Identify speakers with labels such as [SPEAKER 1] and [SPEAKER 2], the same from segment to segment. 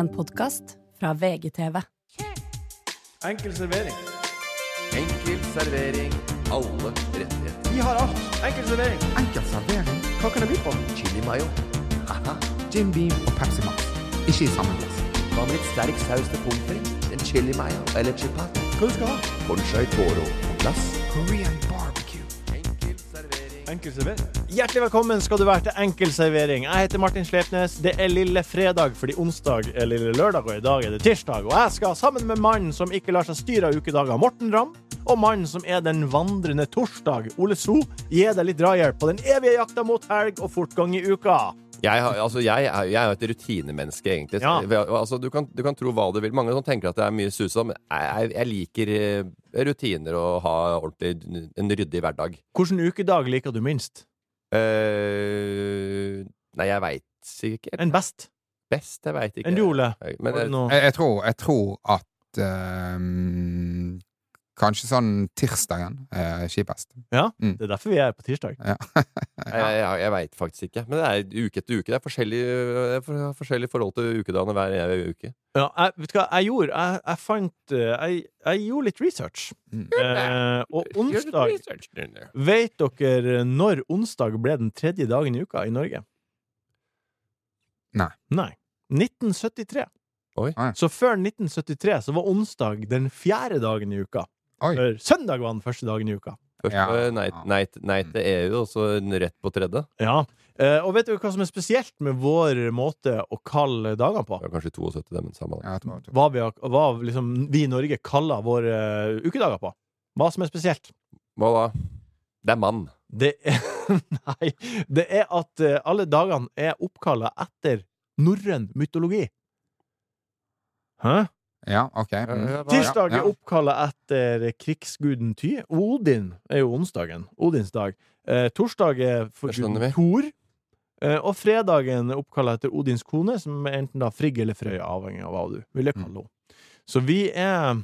[SPEAKER 1] En podkast fra VGTV.
[SPEAKER 2] Enkel servering.
[SPEAKER 3] Enkel servering. Alle rettigheter.
[SPEAKER 2] Vi har alt. Enkel servering.
[SPEAKER 4] Enkel servering,
[SPEAKER 2] Hva kan det by på?
[SPEAKER 3] Chili mayo. Haha.
[SPEAKER 4] Jim Beam og Pepsi Max. Ikke i samme glass.
[SPEAKER 3] Hva med litt sterk saus til pommes frites? En chili mayo eller chipat?
[SPEAKER 2] Hva du skal ha?
[SPEAKER 3] Conchai toro på glass.
[SPEAKER 4] Korean barbecue.
[SPEAKER 3] Enkel servering.
[SPEAKER 2] Enkel servering. Hjertelig velkommen skal du være til Enkel servering. Jeg heter Martin Slepnes. Det er lille fredag, fordi onsdag er lille lørdag, og i dag er det tirsdag. Og jeg skal sammen med mannen som ikke lar seg styre av ukedager, Morten Ramm, og mannen som er den vandrende torsdag, Ole So, gi deg litt drahjelp på den evige jakta mot helg og fortgang i uka.
[SPEAKER 3] Jeg, har, altså, jeg, er, jeg er jo et rutinemenneske, egentlig.
[SPEAKER 2] Ja.
[SPEAKER 3] Altså, du, kan, du kan tro hva du vil. Mange som tenker at det er mye susa, men jeg, jeg, jeg liker eh, rutiner og ha ordentlig, en ryddig hverdag.
[SPEAKER 2] Hvilken ukedag liker du minst?
[SPEAKER 3] Eh, nei, jeg veit ikke.
[SPEAKER 2] Enn best?
[SPEAKER 3] Best, jeg veit ikke.
[SPEAKER 2] Enn du, Ole?
[SPEAKER 3] Men,
[SPEAKER 2] Har du
[SPEAKER 3] eh,
[SPEAKER 2] noe?
[SPEAKER 4] Jeg, jeg, tror, jeg tror at ehm, Kanskje sånn tirsdagen er kjipest.
[SPEAKER 2] Det er derfor vi er her på tirsdag.
[SPEAKER 4] Ja.
[SPEAKER 3] Jeg, jeg, jeg veit faktisk ikke. Men det er uke etter uke. Det er forskjellige, det er for- forskjellige forhold til ukedagene hver ene uke.
[SPEAKER 2] Ja, jeg, vet du hva jeg gjorde? Jeg, jeg fant eh, jeg, jeg gjorde litt research.
[SPEAKER 4] Mm.
[SPEAKER 2] Eh, og onsdag
[SPEAKER 3] Research.
[SPEAKER 2] Vet dere når onsdag ble den tredje dagen i uka i Norge?
[SPEAKER 4] Nei.
[SPEAKER 2] Nei. 1973.
[SPEAKER 3] Oi.
[SPEAKER 4] Nei.
[SPEAKER 2] Så før 1973 så var onsdag den fjerde dagen i uka.
[SPEAKER 4] Oi.
[SPEAKER 2] For søndag var den første dagen i uka.
[SPEAKER 3] Først
[SPEAKER 4] Ja. Mm.
[SPEAKER 3] eh, nei, nei, nei til EU, og så rett på tredje.
[SPEAKER 2] Ja. Eh, og vet dere hva som er spesielt med vår måte å kalle dagene på?
[SPEAKER 3] Det var kanskje 72, det, men samme det.
[SPEAKER 4] Ja, jeg tror, jeg tror.
[SPEAKER 2] Hva vi, har- hva liksom, vi i Norge kaller våre eh, ukedager på? Hva som er spesielt?
[SPEAKER 3] Hva da? Det er mann.
[SPEAKER 2] Det er, nei, det er at eh, alle dagene er oppkalla etter norrøn mytologi. Hæ?
[SPEAKER 4] Ja, ok. Mm.
[SPEAKER 3] Ja, hva-
[SPEAKER 2] Tirsdag
[SPEAKER 4] ja.
[SPEAKER 2] er oppkalla etter krigsguden Ty. Odin er jo onsdagen. Odins dag. Eh, torsdag er for
[SPEAKER 3] Det skjønner
[SPEAKER 2] guden Thor. Eh, og fredagen er oppkalla etter Odins kone, som er enten da Frigg eller Frøya, avhengig av hva du ville kalle henne. Så vi er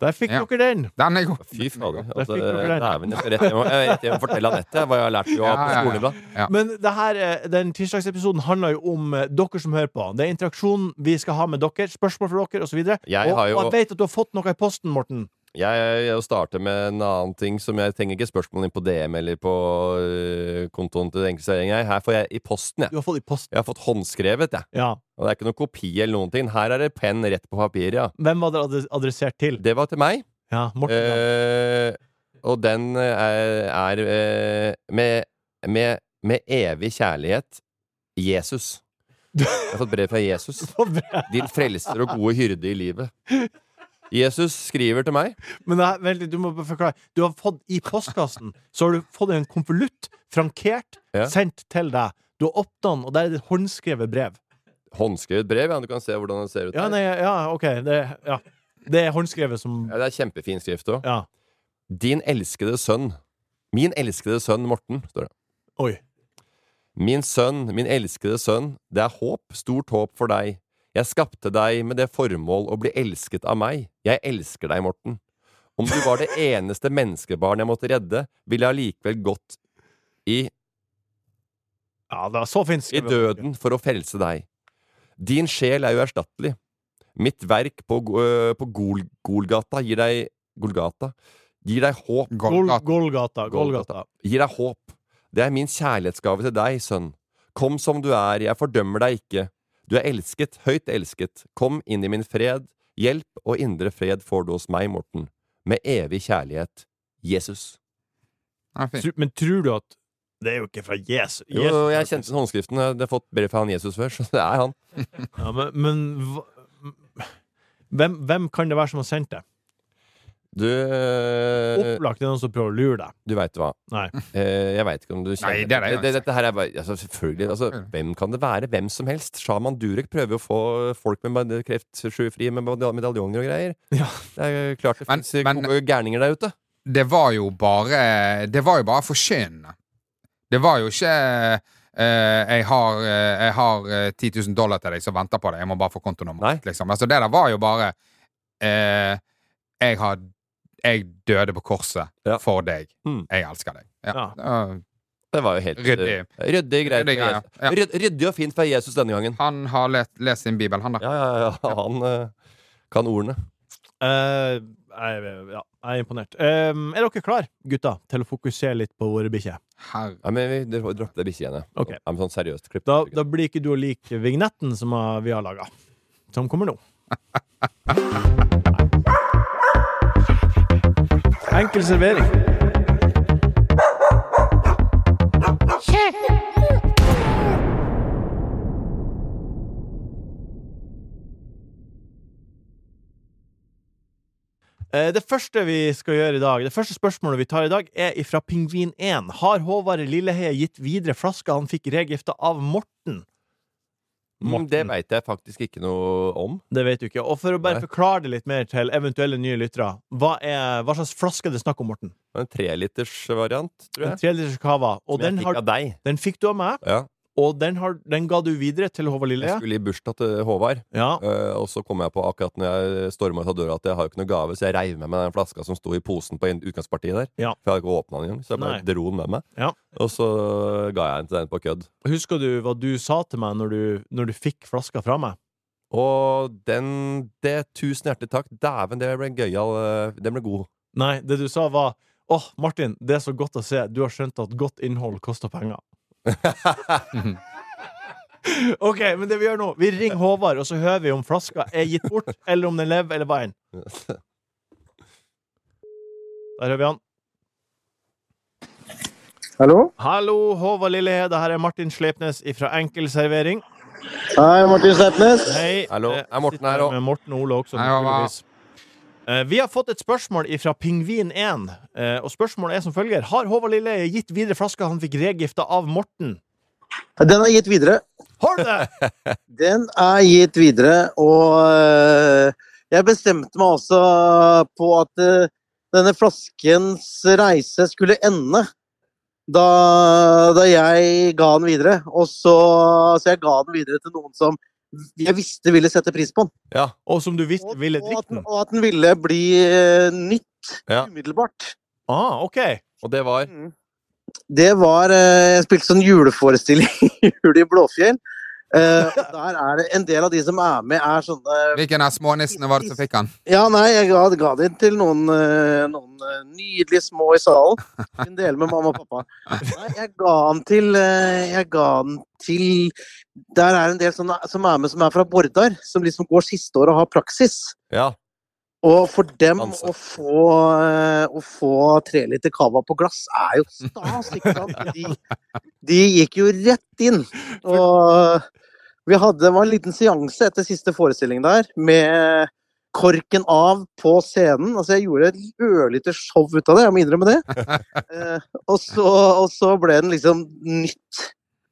[SPEAKER 2] Der fikk
[SPEAKER 4] Ja.
[SPEAKER 2] dere den!
[SPEAKER 4] Den er god.
[SPEAKER 3] Fy fader.
[SPEAKER 2] Der
[SPEAKER 3] Altså,
[SPEAKER 2] fikk dere den.
[SPEAKER 3] dæven, jeg skal rett hjem og- jeg er rett hjem og fortelle Anette hva jeg har lært jo
[SPEAKER 4] Ja,
[SPEAKER 3] på
[SPEAKER 4] ja, ja.
[SPEAKER 3] skolen i dag.
[SPEAKER 2] Men det her, eh, den tirsdagsepisoden handler jo om eh, dere som hører på. Det er interaksjonen vi skal ha med dere. Spørsmål fra dere, osv. Og,
[SPEAKER 3] Jeg
[SPEAKER 2] og,
[SPEAKER 3] har jo-
[SPEAKER 2] og jeg vet at du har fått noe i posten, Morten.
[SPEAKER 3] Jeg, jeg starter med en annen ting som jeg trenger ikke spørsmål inn på DM eller på øh, kontoen til enkeltserien. jeg. Her får jeg i posten, jeg.
[SPEAKER 2] Du har fått i posten.
[SPEAKER 3] Jeg har fått håndskrevet, jeg.
[SPEAKER 2] Ja.
[SPEAKER 3] Og det er ikke noe kopi eller noen ting. Her er det penn rett på papiret, ja.
[SPEAKER 2] Hvem var det adres- adressert til?
[SPEAKER 3] Det var til meg.
[SPEAKER 2] Ja, Morten. ja.
[SPEAKER 3] Eh, og den er, er eh, med, med, med evig kjærlighet Jesus. Jeg har fått brev fra Jesus. Din frelser og gode hyrde i livet. Jesus skriver til meg.
[SPEAKER 2] Men det her, vent litt, du må bare forklare. Du har fått i postkassen Så har du fått en konvolutt frankert,
[SPEAKER 3] Ja.
[SPEAKER 2] sendt til deg. Du har åpnet den, og der er det et håndskrevet brev.
[SPEAKER 3] Håndskrevet brev, ja. Du kan se hvordan det ser ut.
[SPEAKER 2] Ja,
[SPEAKER 3] her.
[SPEAKER 2] nei, ja, OK. Det, ja. det er håndskrevet som
[SPEAKER 3] Ja, det er kjempefin skrift òg.
[SPEAKER 2] Ja.
[SPEAKER 3] Din elskede sønn. Min elskede sønn Morten, står det.
[SPEAKER 2] Oi.
[SPEAKER 3] Min sønn, min elskede sønn, det er håp, stort håp for deg. Jeg skapte deg med det formål å bli elsket av meg. Jeg elsker deg, Morten. Om du var det eneste menneskebarn jeg måtte redde, ville jeg allikevel gått i,
[SPEAKER 2] Ja, det er så fint
[SPEAKER 3] i
[SPEAKER 2] skrevet.
[SPEAKER 3] døden for å frelse deg. Din sjel er uerstattelig. Mitt verk på, Go- øh, på Gol, Golgata gir deg Golgata gir deg håp.
[SPEAKER 2] Golgata. Golgata.
[SPEAKER 4] Golgata.
[SPEAKER 3] Golgata. Gir deg håp. Det er min kjærlighetsgave til deg, sønn. Kom som du er, jeg fordømmer deg ikke. Du er elsket, høyt elsket. Kom inn i min fred. Hjelp og indre fred får du hos meg, Morten. Med evig kjærlighet. Jesus.
[SPEAKER 4] Den er fin.
[SPEAKER 2] Tru- Men tror du at Det er jo ikke fra Jesus.
[SPEAKER 3] Jo,
[SPEAKER 2] Jesus
[SPEAKER 3] jeg kjente den håndskriften. Jeg har fått brev fra han Jesus før, så det er han.
[SPEAKER 2] ja, Men, men hva- hvem, hvem kan det være som har sendt det?
[SPEAKER 3] Du øh,
[SPEAKER 2] Opplagt det er noen som prøver å lure deg.
[SPEAKER 3] Du veit hva.
[SPEAKER 2] Nei.
[SPEAKER 3] Eh, jeg veit ikke om du kjenner
[SPEAKER 4] Nei, det er det jeg
[SPEAKER 3] Dette her er bare altså, Selvfølgelig. Altså, hvem kan det være? Hvem som helst? Shaman Durek prøver å få folk med kreftsjufri med medal- medaljonger og greier.
[SPEAKER 2] Ja.
[SPEAKER 3] Det er jo klart det
[SPEAKER 4] Men-
[SPEAKER 3] fins
[SPEAKER 4] men-
[SPEAKER 3] gærninger der ute.
[SPEAKER 4] Det var jo bare Det var jo bare forkynnende. Det var jo ikke eh, jeg har, eh, jeg har eh, 10 000 dollar til deg som venter på deg. Jeg må bare få
[SPEAKER 3] Nei.
[SPEAKER 4] kontonummeret. Liksom. Altså, det der var jo bare eh, jeg, har, jeg døde på korset
[SPEAKER 3] Ja.
[SPEAKER 4] for deg.
[SPEAKER 3] Mm.
[SPEAKER 4] Jeg elsker deg. Ja.
[SPEAKER 2] Ja.
[SPEAKER 4] Det var
[SPEAKER 3] Det var jo helt
[SPEAKER 4] Ryddig.
[SPEAKER 3] eh, Ryddig, greit.
[SPEAKER 4] Ryddig, ja, ja. Ja.
[SPEAKER 3] Ryd- Ryddig og fint fra Jesus denne gangen.
[SPEAKER 4] Han har lest, lest sin bibel, han da.
[SPEAKER 3] Ja, ja, ja. Han eh, kan ordene.
[SPEAKER 2] Eh, jeg, ja, jeg er imponert. Eh, er dere klare, gutta, til å fokusere litt på våre bikkjer?
[SPEAKER 4] Herre.
[SPEAKER 3] Nei, men vi dro- dropp det bikkjegreiene.
[SPEAKER 2] Ok.
[SPEAKER 3] Ja, men Sånn seriøst klipp.
[SPEAKER 2] Da, da blir ikke du å like vignetten som eh, vi har laga, som kommer nå. Enkel servering. Eh, Det første vi skal gjøre i dag, det første spørsmålet vi tar i dag, er ifra Pingvin 1. Har Håvard Lilleheie gitt videre flaska han fikk regifta av Morten?
[SPEAKER 3] Mm, Det veit jeg faktisk ikke noe om.
[SPEAKER 2] Det vet du ikke. Og for å bare
[SPEAKER 3] Nei.
[SPEAKER 2] forklare det litt mer til eventuelle nye lyttere, hva, er- hva slags flaske er det snakk om, Morten?
[SPEAKER 3] En trelitersvariant, tror
[SPEAKER 2] En
[SPEAKER 3] jeg.
[SPEAKER 2] treliters cava.
[SPEAKER 3] Som
[SPEAKER 2] Og
[SPEAKER 3] jeg
[SPEAKER 2] den,
[SPEAKER 3] fikk
[SPEAKER 2] har,
[SPEAKER 3] av deg.
[SPEAKER 2] den fikk du av meg,
[SPEAKER 3] Ja.
[SPEAKER 2] og den, har, den ga du videre til Håvard
[SPEAKER 3] Jeg
[SPEAKER 2] Lille.
[SPEAKER 3] skulle i bursdag til Håvard,
[SPEAKER 2] Ja.
[SPEAKER 3] eh, og så kom jeg på akkurat når jeg storma ut av døra at jeg har jo ikke noe gave, så jeg reiv med meg den flaska som sto i posen på en- utgangspartiet der.
[SPEAKER 2] Ja.
[SPEAKER 3] For jeg hadde ikke åpna den engang, så jeg bare
[SPEAKER 2] Nei.
[SPEAKER 3] dro den med meg.
[SPEAKER 2] Ja.
[SPEAKER 3] Og så ga jeg den til den på kødd.
[SPEAKER 2] Husker du hva du sa til meg når du, når du fikk flaska fra meg?
[SPEAKER 3] Og den det, Tusen hjertelig takk. Dæven, det ble gøyal. eh, Den ble god.
[SPEAKER 2] Nei, det du sa var Åh, Martin, det er så godt å se. Du har skjønt at godt innhold koster penger. OK, men det vi gjør nå, vi ringer Håvard, og så hører vi om flaska er gitt bort, eller om den lever, eller hva enn. Der hører vi han.
[SPEAKER 5] Hallo?
[SPEAKER 2] Hallo, Håvard Lillehe. Det her er Martin Slepnes fra Enkel servering.
[SPEAKER 5] Hei, Martin Slepnes.
[SPEAKER 2] Hei.
[SPEAKER 3] Hallo.
[SPEAKER 2] Eh,
[SPEAKER 3] Er Morten her
[SPEAKER 2] sitter
[SPEAKER 3] også?
[SPEAKER 2] Med Morten og Ole også.
[SPEAKER 4] Hei, hva, hva?
[SPEAKER 2] naturligvis. Eh, Vi har fått et spørsmål fra Pingvin1. eh, Og spørsmålet er som følger Har Håvard Lilleheie gitt videre flaska han fikk regifta av Morten?
[SPEAKER 5] Den er gitt videre.
[SPEAKER 2] Har du det?!
[SPEAKER 5] Den er gitt videre, og øh, jeg bestemte meg også på at øh, denne flaskens reise skulle ende da, da jeg ga den videre. Og så, så jeg ga den videre til noen som jeg visste ville sette pris på den.
[SPEAKER 3] Ja.
[SPEAKER 2] Og som du visste
[SPEAKER 5] Og,
[SPEAKER 2] ville
[SPEAKER 5] og, at,
[SPEAKER 2] drikke
[SPEAKER 5] den-
[SPEAKER 2] den?
[SPEAKER 5] og at den ville bli øh, nytt
[SPEAKER 3] Ja.
[SPEAKER 5] umiddelbart.
[SPEAKER 2] Ah, OK.
[SPEAKER 3] Og det var
[SPEAKER 5] Det var eh, Jeg spilte sånn juleforestilling i jul i Blåfjell. Eh, og der er det en del av de som er med, er sånne
[SPEAKER 4] Hvilken av smånissene var det som fikk han?
[SPEAKER 5] Ja, nei, jeg ga, ga det til noen, eh, noen eh, nydelige små i salen. En del med mamma og pappa. Nei, jeg ga den til eh, Jeg ga den til Der er en del sånne, som er med, som er fra Bordar. Som liksom går siste år og har praksis.
[SPEAKER 3] Ja.
[SPEAKER 5] Og for dem
[SPEAKER 3] Ansatt.
[SPEAKER 5] å få, eh, å få tre liter cava på glass er jo stas, ikke sant? De, de gikk jo rett inn. Og vi hadde, det var en liten seanse etter siste forestilling der, med korken av på scenen. Altså, jeg gjorde et ørlite show ut av det, jeg må innrømme det. Eh, og, så, og så ble den liksom nytt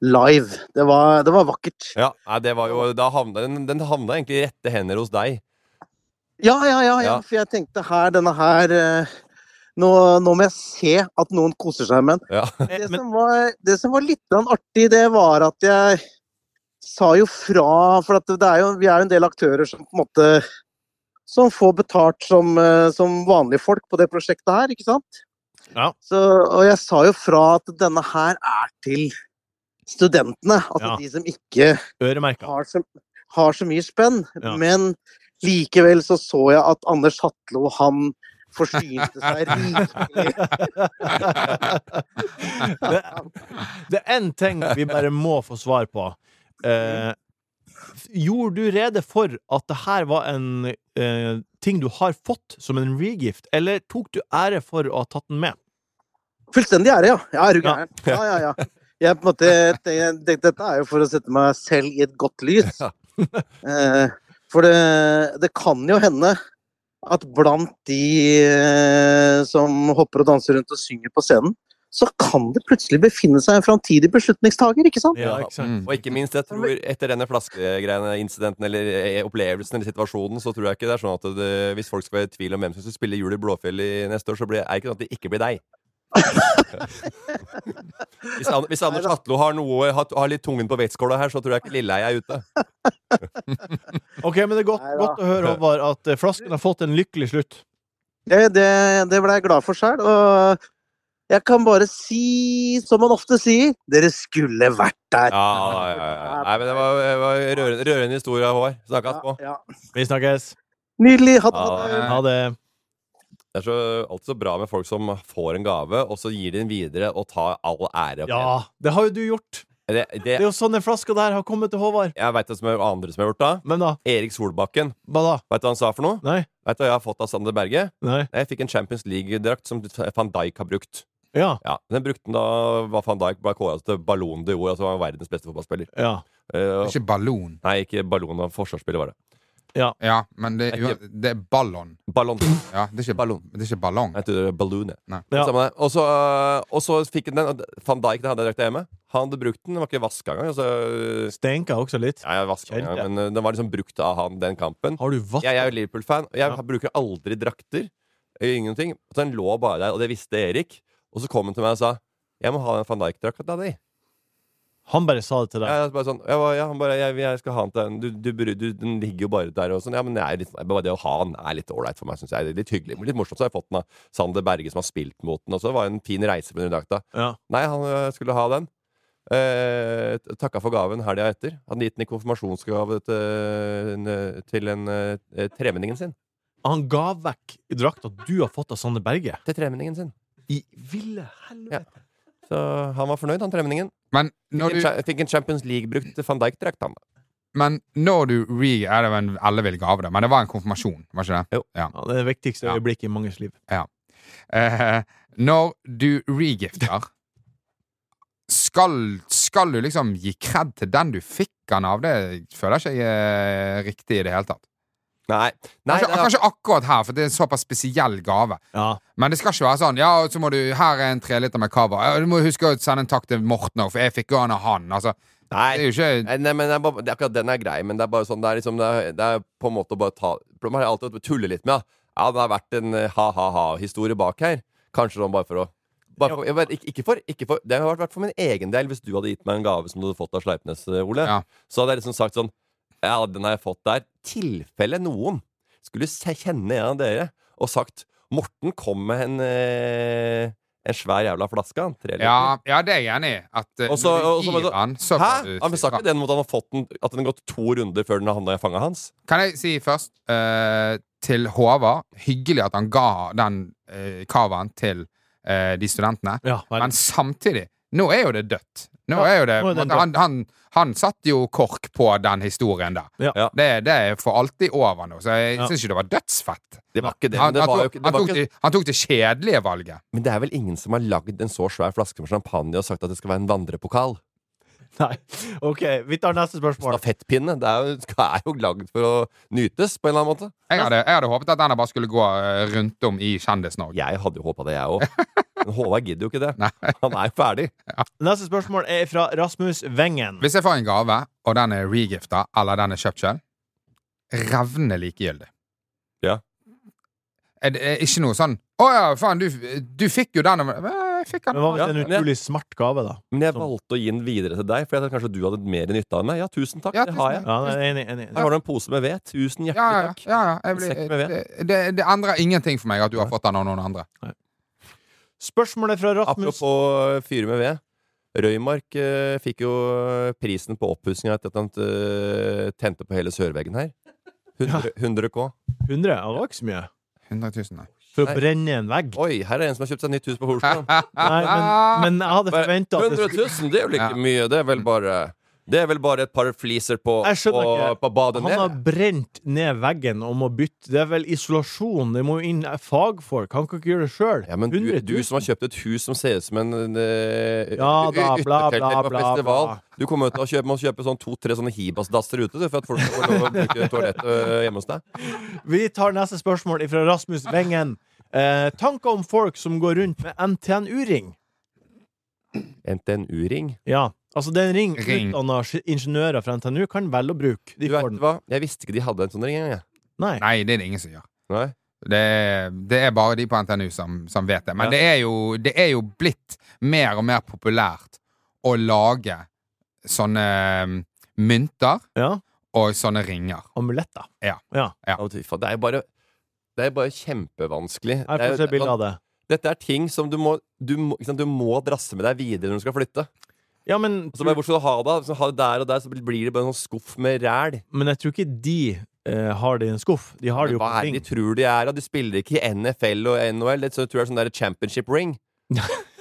[SPEAKER 5] live. Det var, det var vakkert.
[SPEAKER 3] ja. Nei, det var jo da havna, den, den havna egentlig i rette hender hos deg.
[SPEAKER 5] Ja, ja, ja, ja.
[SPEAKER 3] Ja.
[SPEAKER 5] For jeg tenkte her, denne her eh, nå, nå må jeg se at noen koser seg med den.
[SPEAKER 3] Ja.
[SPEAKER 2] Eh,
[SPEAKER 5] Det,
[SPEAKER 2] Men,
[SPEAKER 5] som var, det som var litt grann artig, det var at jeg sa jo fra For at det er jo, vi er jo en del aktører som på en måte som får betalt som, eh, som vanlige folk på det prosjektet her, ikke sant?
[SPEAKER 2] Ja.
[SPEAKER 5] Så, og jeg sa jo fra at denne her er til studentene. Altså
[SPEAKER 2] Ja.
[SPEAKER 5] de som ikke
[SPEAKER 2] øremerka.
[SPEAKER 5] har så, har så mye spenn,
[SPEAKER 2] Ja.
[SPEAKER 5] men likevel så så jeg at Anders Hatlo, han forsynte seg rikelig.
[SPEAKER 2] Det, det er én ting vi bare må få svar på. Eh, gjorde du rede for at det her var en eh, ting du har fått som en regift, eller tok du ære for å ha tatt den med?
[SPEAKER 5] Fullstendig ære, ja. Ja, er du
[SPEAKER 2] Ja.
[SPEAKER 5] gæren? Ja, ja, ja. Jeg på en måte tenkte, Dette er jo for å sette meg selv i et godt lys. Eh, For det, det kan jo hende at blant de eh, som hopper og danser rundt og synger på scenen, så kan det plutselig befinne seg en framtidig beslutningstaker, ikke sant?
[SPEAKER 3] Ja,
[SPEAKER 2] ikke sant?
[SPEAKER 4] Mm.
[SPEAKER 3] Og ikke minst, jeg tror etter denne flaskegreiene, incidenten eller eh, opplevelsen eller situasjonen, så tror jeg ikke det er sånn at det, hvis folk skal være i tvil om hvem som skal spille Jul i Blåfjell i neste år, så blir, er det ikke sånn at det ikke blir deg. hvis, An hvis Anders Hatlo har, noe, har, har litt tungen på vektskåla her, så tror jeg ikke Lilleheie er ute.
[SPEAKER 2] Ok, men det er godt,
[SPEAKER 5] Nei da.
[SPEAKER 2] godt å høre, Håvard, at eh, flasken har fått en lykkelig slutt.
[SPEAKER 5] Det, det, det ble jeg glad for sjøl. Og Jeg kan bare si, som man ofte sier, dere skulle vært der.
[SPEAKER 3] Ja, ja, ja, ja. Nei, men det var, det var rørende, rørende historie, Håvard. Snakkes på.
[SPEAKER 5] Ja, ja.
[SPEAKER 2] Vi snakkes.
[SPEAKER 5] Nydelig. Ha det.
[SPEAKER 3] Ja,
[SPEAKER 5] Ha det.
[SPEAKER 2] Ha det.
[SPEAKER 3] Det er så, alt så bra med folk som får en gave, og så gir de den videre og tar all ære. for
[SPEAKER 2] Ja, det har jo du gjort.
[SPEAKER 3] Det, det,
[SPEAKER 2] Det er jo sånn den flaska der har kommet til Håvard.
[SPEAKER 3] jeg veit hvem som- andre som har gjort det.
[SPEAKER 2] Men da?
[SPEAKER 3] Erik Solbakken.
[SPEAKER 2] Hva da?
[SPEAKER 3] Veit du hva han sa for noe?
[SPEAKER 2] Nei?
[SPEAKER 3] Vet du hva jeg har fått av Sander Berge?
[SPEAKER 2] Nei?
[SPEAKER 3] Jeg fikk en Champions League-drakt som van Dijk har brukt.
[SPEAKER 2] Ja.
[SPEAKER 3] Ja, Den brukte han da var van Dijk ble kåra til Ballon de Jord, altså han var verdens beste fotballspiller.
[SPEAKER 2] Ja.
[SPEAKER 3] Eh,
[SPEAKER 4] Ikke ballon.
[SPEAKER 3] nei, ikke Ballon, han forsvarsspiller var det.
[SPEAKER 4] Ja, men det, er jo- det er ballon.
[SPEAKER 3] Ballon.
[SPEAKER 4] Ja, det er ikke,
[SPEAKER 3] Ballon.
[SPEAKER 4] det er ikke ballong.
[SPEAKER 3] Jeg tror det er Balloon, jeg.
[SPEAKER 4] Nei.
[SPEAKER 2] Ja.
[SPEAKER 3] Samme det. Og så, øh, og så fikk han den. og Van Dijk den hadde jeg drakta hjemme. Han hadde brukt den. Den var ikke vaska engang. Altså, øh,
[SPEAKER 2] Stenka også litt.
[SPEAKER 3] ja, jeg vasket den
[SPEAKER 2] Kjent,
[SPEAKER 3] engang,
[SPEAKER 2] ja.
[SPEAKER 3] men øh, den var liksom brukt av han den kampen.
[SPEAKER 2] Har du vatt?
[SPEAKER 3] Jeg, jeg er jo Liverpool-fan, og jeg
[SPEAKER 2] Ja.
[SPEAKER 3] bruker aldri drakter. Jeg gjør Ingenting. Så den lå bare der, og det visste Erik. Og så kom han til meg og sa jeg må ha den van Dijk-drakta di.
[SPEAKER 2] Han bare sa det til deg.
[SPEAKER 3] Jeg, bare sånn, jeg, var- ja, han bare, jeg, jeg skal ha den til den. Du, du, bru- du, den ligger jo bare der. Og sånn. ja, men det, er litt, bare det å ha den er litt ålreit for meg, syns jeg. Det er litt hyggelig. Litt morsomt. Så har jeg fått den av Sander Berge, som har spilt mot den. Og så var det en fin reise på den drakta.
[SPEAKER 2] Ja.
[SPEAKER 3] Nei, han ø, skulle ha den. Eh, t- takka for gaven helga etter. Hadde gitt den i konfirmasjonsgave til, en, ø, til en, ø, tremenningen sin.
[SPEAKER 2] Han ga vekk drakta du har fått av Sander Berge.
[SPEAKER 3] Til tremenningen sin.
[SPEAKER 2] I ville helvete.
[SPEAKER 3] Så han var fornøyd, han tremenningen.
[SPEAKER 4] Men når
[SPEAKER 3] Fikk, en
[SPEAKER 4] du,
[SPEAKER 3] cha- fikk en Champions League-brukt van Dijk-drakt, han.
[SPEAKER 4] men når du re... Ja, det var en ellevill gave, da, men det var en konfirmasjon, var ikke det?
[SPEAKER 2] Ja, det er det viktigste
[SPEAKER 4] Ja.
[SPEAKER 2] øyeblikket i manges liv.
[SPEAKER 4] Eh, når du regifter skal, skal du liksom gi cred til den du fikk han av? Det føler ikke jeg er riktig i det hele tatt.
[SPEAKER 3] Nei. Nei
[SPEAKER 4] kanskje,
[SPEAKER 3] det er-
[SPEAKER 4] kanskje akkurat her, for det er en såpass spesiell gave.
[SPEAKER 2] Ja.
[SPEAKER 4] Men det skal ikke være sånn. Ja, og så må du, Her er en treliter med cava. Ja, Du må huske å sende en takk til Morten òg, for jeg fikk jo han av han. Altså, det
[SPEAKER 3] Nei.
[SPEAKER 4] er jo ikke
[SPEAKER 3] Nei, Eh, nei, men det er bare, det, er akkurat den er grei, men det er bare sånn Det er, liksom, det er, det er på en måte å bare ta Man har alltid tulle litt med, da. Ja, det har vært en eh, ha-ha-ha-historie bak her. Kanskje sånn bare for å bare for, jeg vet, ikke, ikke for, ikke for, Det har vært for min egen del. Hvis du hadde gitt meg en gave som du hadde fått av Sleipnes, eh, Ole,
[SPEAKER 4] Ja.
[SPEAKER 3] så hadde jeg liksom sagt sånn Ja, den har jeg fått der. Tilfelle noen skulle se, kjenne en av dere og sagt Morten kom med en, eh, en svær jævla flaske, han. Tre liter.
[SPEAKER 4] Ja, ja, det er jeg enig i. At eh,
[SPEAKER 3] Og så-
[SPEAKER 4] når
[SPEAKER 3] og
[SPEAKER 4] du
[SPEAKER 3] så var
[SPEAKER 4] gir
[SPEAKER 3] det-
[SPEAKER 4] han, så
[SPEAKER 3] Hæ?
[SPEAKER 4] får du
[SPEAKER 3] Han
[SPEAKER 4] si
[SPEAKER 3] sa
[SPEAKER 4] fra.
[SPEAKER 3] ikke den mot at han har fått den, at den har gått to runder før den havna i fanget hans.
[SPEAKER 4] Kan jeg si først eh, til Håvard Hyggelig at han ga den eh, cavaen til eh, de studentene.
[SPEAKER 2] Ja, vel.
[SPEAKER 4] Men samtidig, nå er jo det dødt. Nå
[SPEAKER 2] Ja,
[SPEAKER 4] er jo det,
[SPEAKER 2] nå er den
[SPEAKER 4] han, han, han satt jo kork på den historien der.
[SPEAKER 2] Ja.
[SPEAKER 3] Ja.
[SPEAKER 4] Det, det er for alltid over nå, så jeg
[SPEAKER 2] Ja.
[SPEAKER 4] syns ikke det var dødsfett.
[SPEAKER 3] Det var ikke det.
[SPEAKER 4] Han,
[SPEAKER 3] Men det,
[SPEAKER 4] han,
[SPEAKER 3] var jo
[SPEAKER 4] tok,
[SPEAKER 3] ikke, det
[SPEAKER 4] han,
[SPEAKER 3] var
[SPEAKER 4] tok
[SPEAKER 3] ikke,
[SPEAKER 4] det, han tok det kjedelige valget.
[SPEAKER 3] men det er vel ingen som har lagd en så svær flaske med champagne og sagt at det skal være en vandrepokal?
[SPEAKER 2] Nei. OK, vi tar neste spørsmål.
[SPEAKER 3] Stafettpinne. Det er jo, skal- er jo lagd for å nytes, på en eller annen måte.
[SPEAKER 4] Jeg hadde, jeg hadde håpet at denne bare skulle gå eh, rundt om i Kjendis-Norge.
[SPEAKER 3] Jeg hadde jo håpa det, jeg òg. Men Håvard gidder jo ikke det.
[SPEAKER 4] Nei.
[SPEAKER 3] Han er jo ferdig.
[SPEAKER 2] Neste spørsmål er fra Rasmus Wengen.
[SPEAKER 4] Hvis jeg får en gave, og den er regifta, eller den er kjøpt sjøl, revnende likegyldig.
[SPEAKER 3] Ja.
[SPEAKER 4] Er det er ikke noe sånn 'Å ja, faen, du, du fikk jo den.' av meg.» «Eh, Jeg fikk den.
[SPEAKER 2] Men hva
[SPEAKER 4] Ja.
[SPEAKER 2] hvis det er en
[SPEAKER 3] men jeg-
[SPEAKER 2] utrolig smart gave, da?
[SPEAKER 3] Men jeg
[SPEAKER 2] Sånn.
[SPEAKER 3] valgte å gi den videre til deg, for jeg tenkte kanskje du hadde mer nytte av den. Nei, Ja, tusen takk.
[SPEAKER 4] Ja,
[SPEAKER 3] det
[SPEAKER 4] tusen
[SPEAKER 3] har jeg.
[SPEAKER 4] takk.
[SPEAKER 2] Ja, nei, enig, enig.
[SPEAKER 3] Her var det en pose med ved. Tusen hjertelig
[SPEAKER 4] Ja, ja, ja,
[SPEAKER 3] takk.
[SPEAKER 4] ja, ja. Jeg
[SPEAKER 3] En sekk
[SPEAKER 4] blir,
[SPEAKER 3] med ved.
[SPEAKER 4] det, det, det endrer ingenting for meg at du har fått den av noen andre.
[SPEAKER 2] Spørsmålet fra Rasmus
[SPEAKER 3] Apropos fyre med ved. Røymark eh, fikk jo prisen på oppussinga etter at han eh, tente på hele sørveggen her. 100, 100 K.
[SPEAKER 2] 100. Det var ikke så mye.
[SPEAKER 4] 100 000, nei.
[SPEAKER 2] For å
[SPEAKER 3] Nei.
[SPEAKER 2] brenne en vegg.
[SPEAKER 3] Oi, her er en som har kjøpt seg nytt hus på Horsland.
[SPEAKER 2] Nei, men, men jeg hadde
[SPEAKER 3] Bare, 100
[SPEAKER 2] forventa at det
[SPEAKER 3] 000,
[SPEAKER 2] skulle
[SPEAKER 3] det er jo ikke
[SPEAKER 4] Ja.
[SPEAKER 3] mye. Det er vel bare Det er vel bare et par fliser på,
[SPEAKER 2] Jeg skjønner
[SPEAKER 3] og,
[SPEAKER 2] ikke.
[SPEAKER 3] på badet
[SPEAKER 2] Han har
[SPEAKER 3] nede.
[SPEAKER 2] brent ned veggen og må bytte. Det er vel isolasjon. Det må jo inn fagfolk. Han kan ikke gjøre det sjøl.
[SPEAKER 3] Ja, men du, du som har kjøpt et hus som ser ut som en eh,
[SPEAKER 2] Ja, da,
[SPEAKER 3] yttertelt
[SPEAKER 2] bla,
[SPEAKER 3] eller
[SPEAKER 2] bla,
[SPEAKER 3] på
[SPEAKER 2] bla,
[SPEAKER 3] festival.
[SPEAKER 2] bla.
[SPEAKER 3] Du kommer til å kjøpe, må kjøpe sånn to-tre sånne Hibas-dasser ute du, for at folk skal få lov å bruke toalett eh, hjemme hos deg.
[SPEAKER 2] Vi tar neste spørsmål fra Rasmus Wengen. Eh, tanker om folk som går rundt med NTNU-ring.
[SPEAKER 3] NTNU-ring.
[SPEAKER 2] Ja, altså det er en ring,
[SPEAKER 4] Ring.
[SPEAKER 2] utdanna ingeniører fra NTNU kan velge å bruke. De
[SPEAKER 3] Du
[SPEAKER 2] får
[SPEAKER 3] vet
[SPEAKER 2] den.
[SPEAKER 3] hva? Jeg visste ikke de hadde en sånn ring engang. jeg.
[SPEAKER 2] Nei.
[SPEAKER 4] Nei, det er det ingen som gjør.
[SPEAKER 3] Nei.
[SPEAKER 4] Det, er- det er bare de på NTNU som, som vet det. Men
[SPEAKER 2] Ja.
[SPEAKER 4] det, er jo, det er jo blitt mer og mer populært å lage sånne um, mynter
[SPEAKER 2] Ja,
[SPEAKER 4] og sånne ringer.
[SPEAKER 2] amuletter.
[SPEAKER 3] Å, fy faen, Det er jo bare Det er bare kjempevanskelig.
[SPEAKER 2] Her får vi se bilde av det.
[SPEAKER 3] Dette er ting som du må, du, må- ikke sant, du må drasse med deg videre når du skal flytte.
[SPEAKER 2] Ja, men,
[SPEAKER 3] Og så bare, hvor skal du ha det? Så ha det der og der, så blir det bare en sånn skuff med ræl.
[SPEAKER 2] men jeg tror ikke de eh, har det i en skuff. De har det jo
[SPEAKER 3] Hva
[SPEAKER 2] på
[SPEAKER 3] er
[SPEAKER 2] ting.
[SPEAKER 3] det de tror de er? da? De spiller ikke i NFL og NHL. Det tror jeg er sånn der championship ring.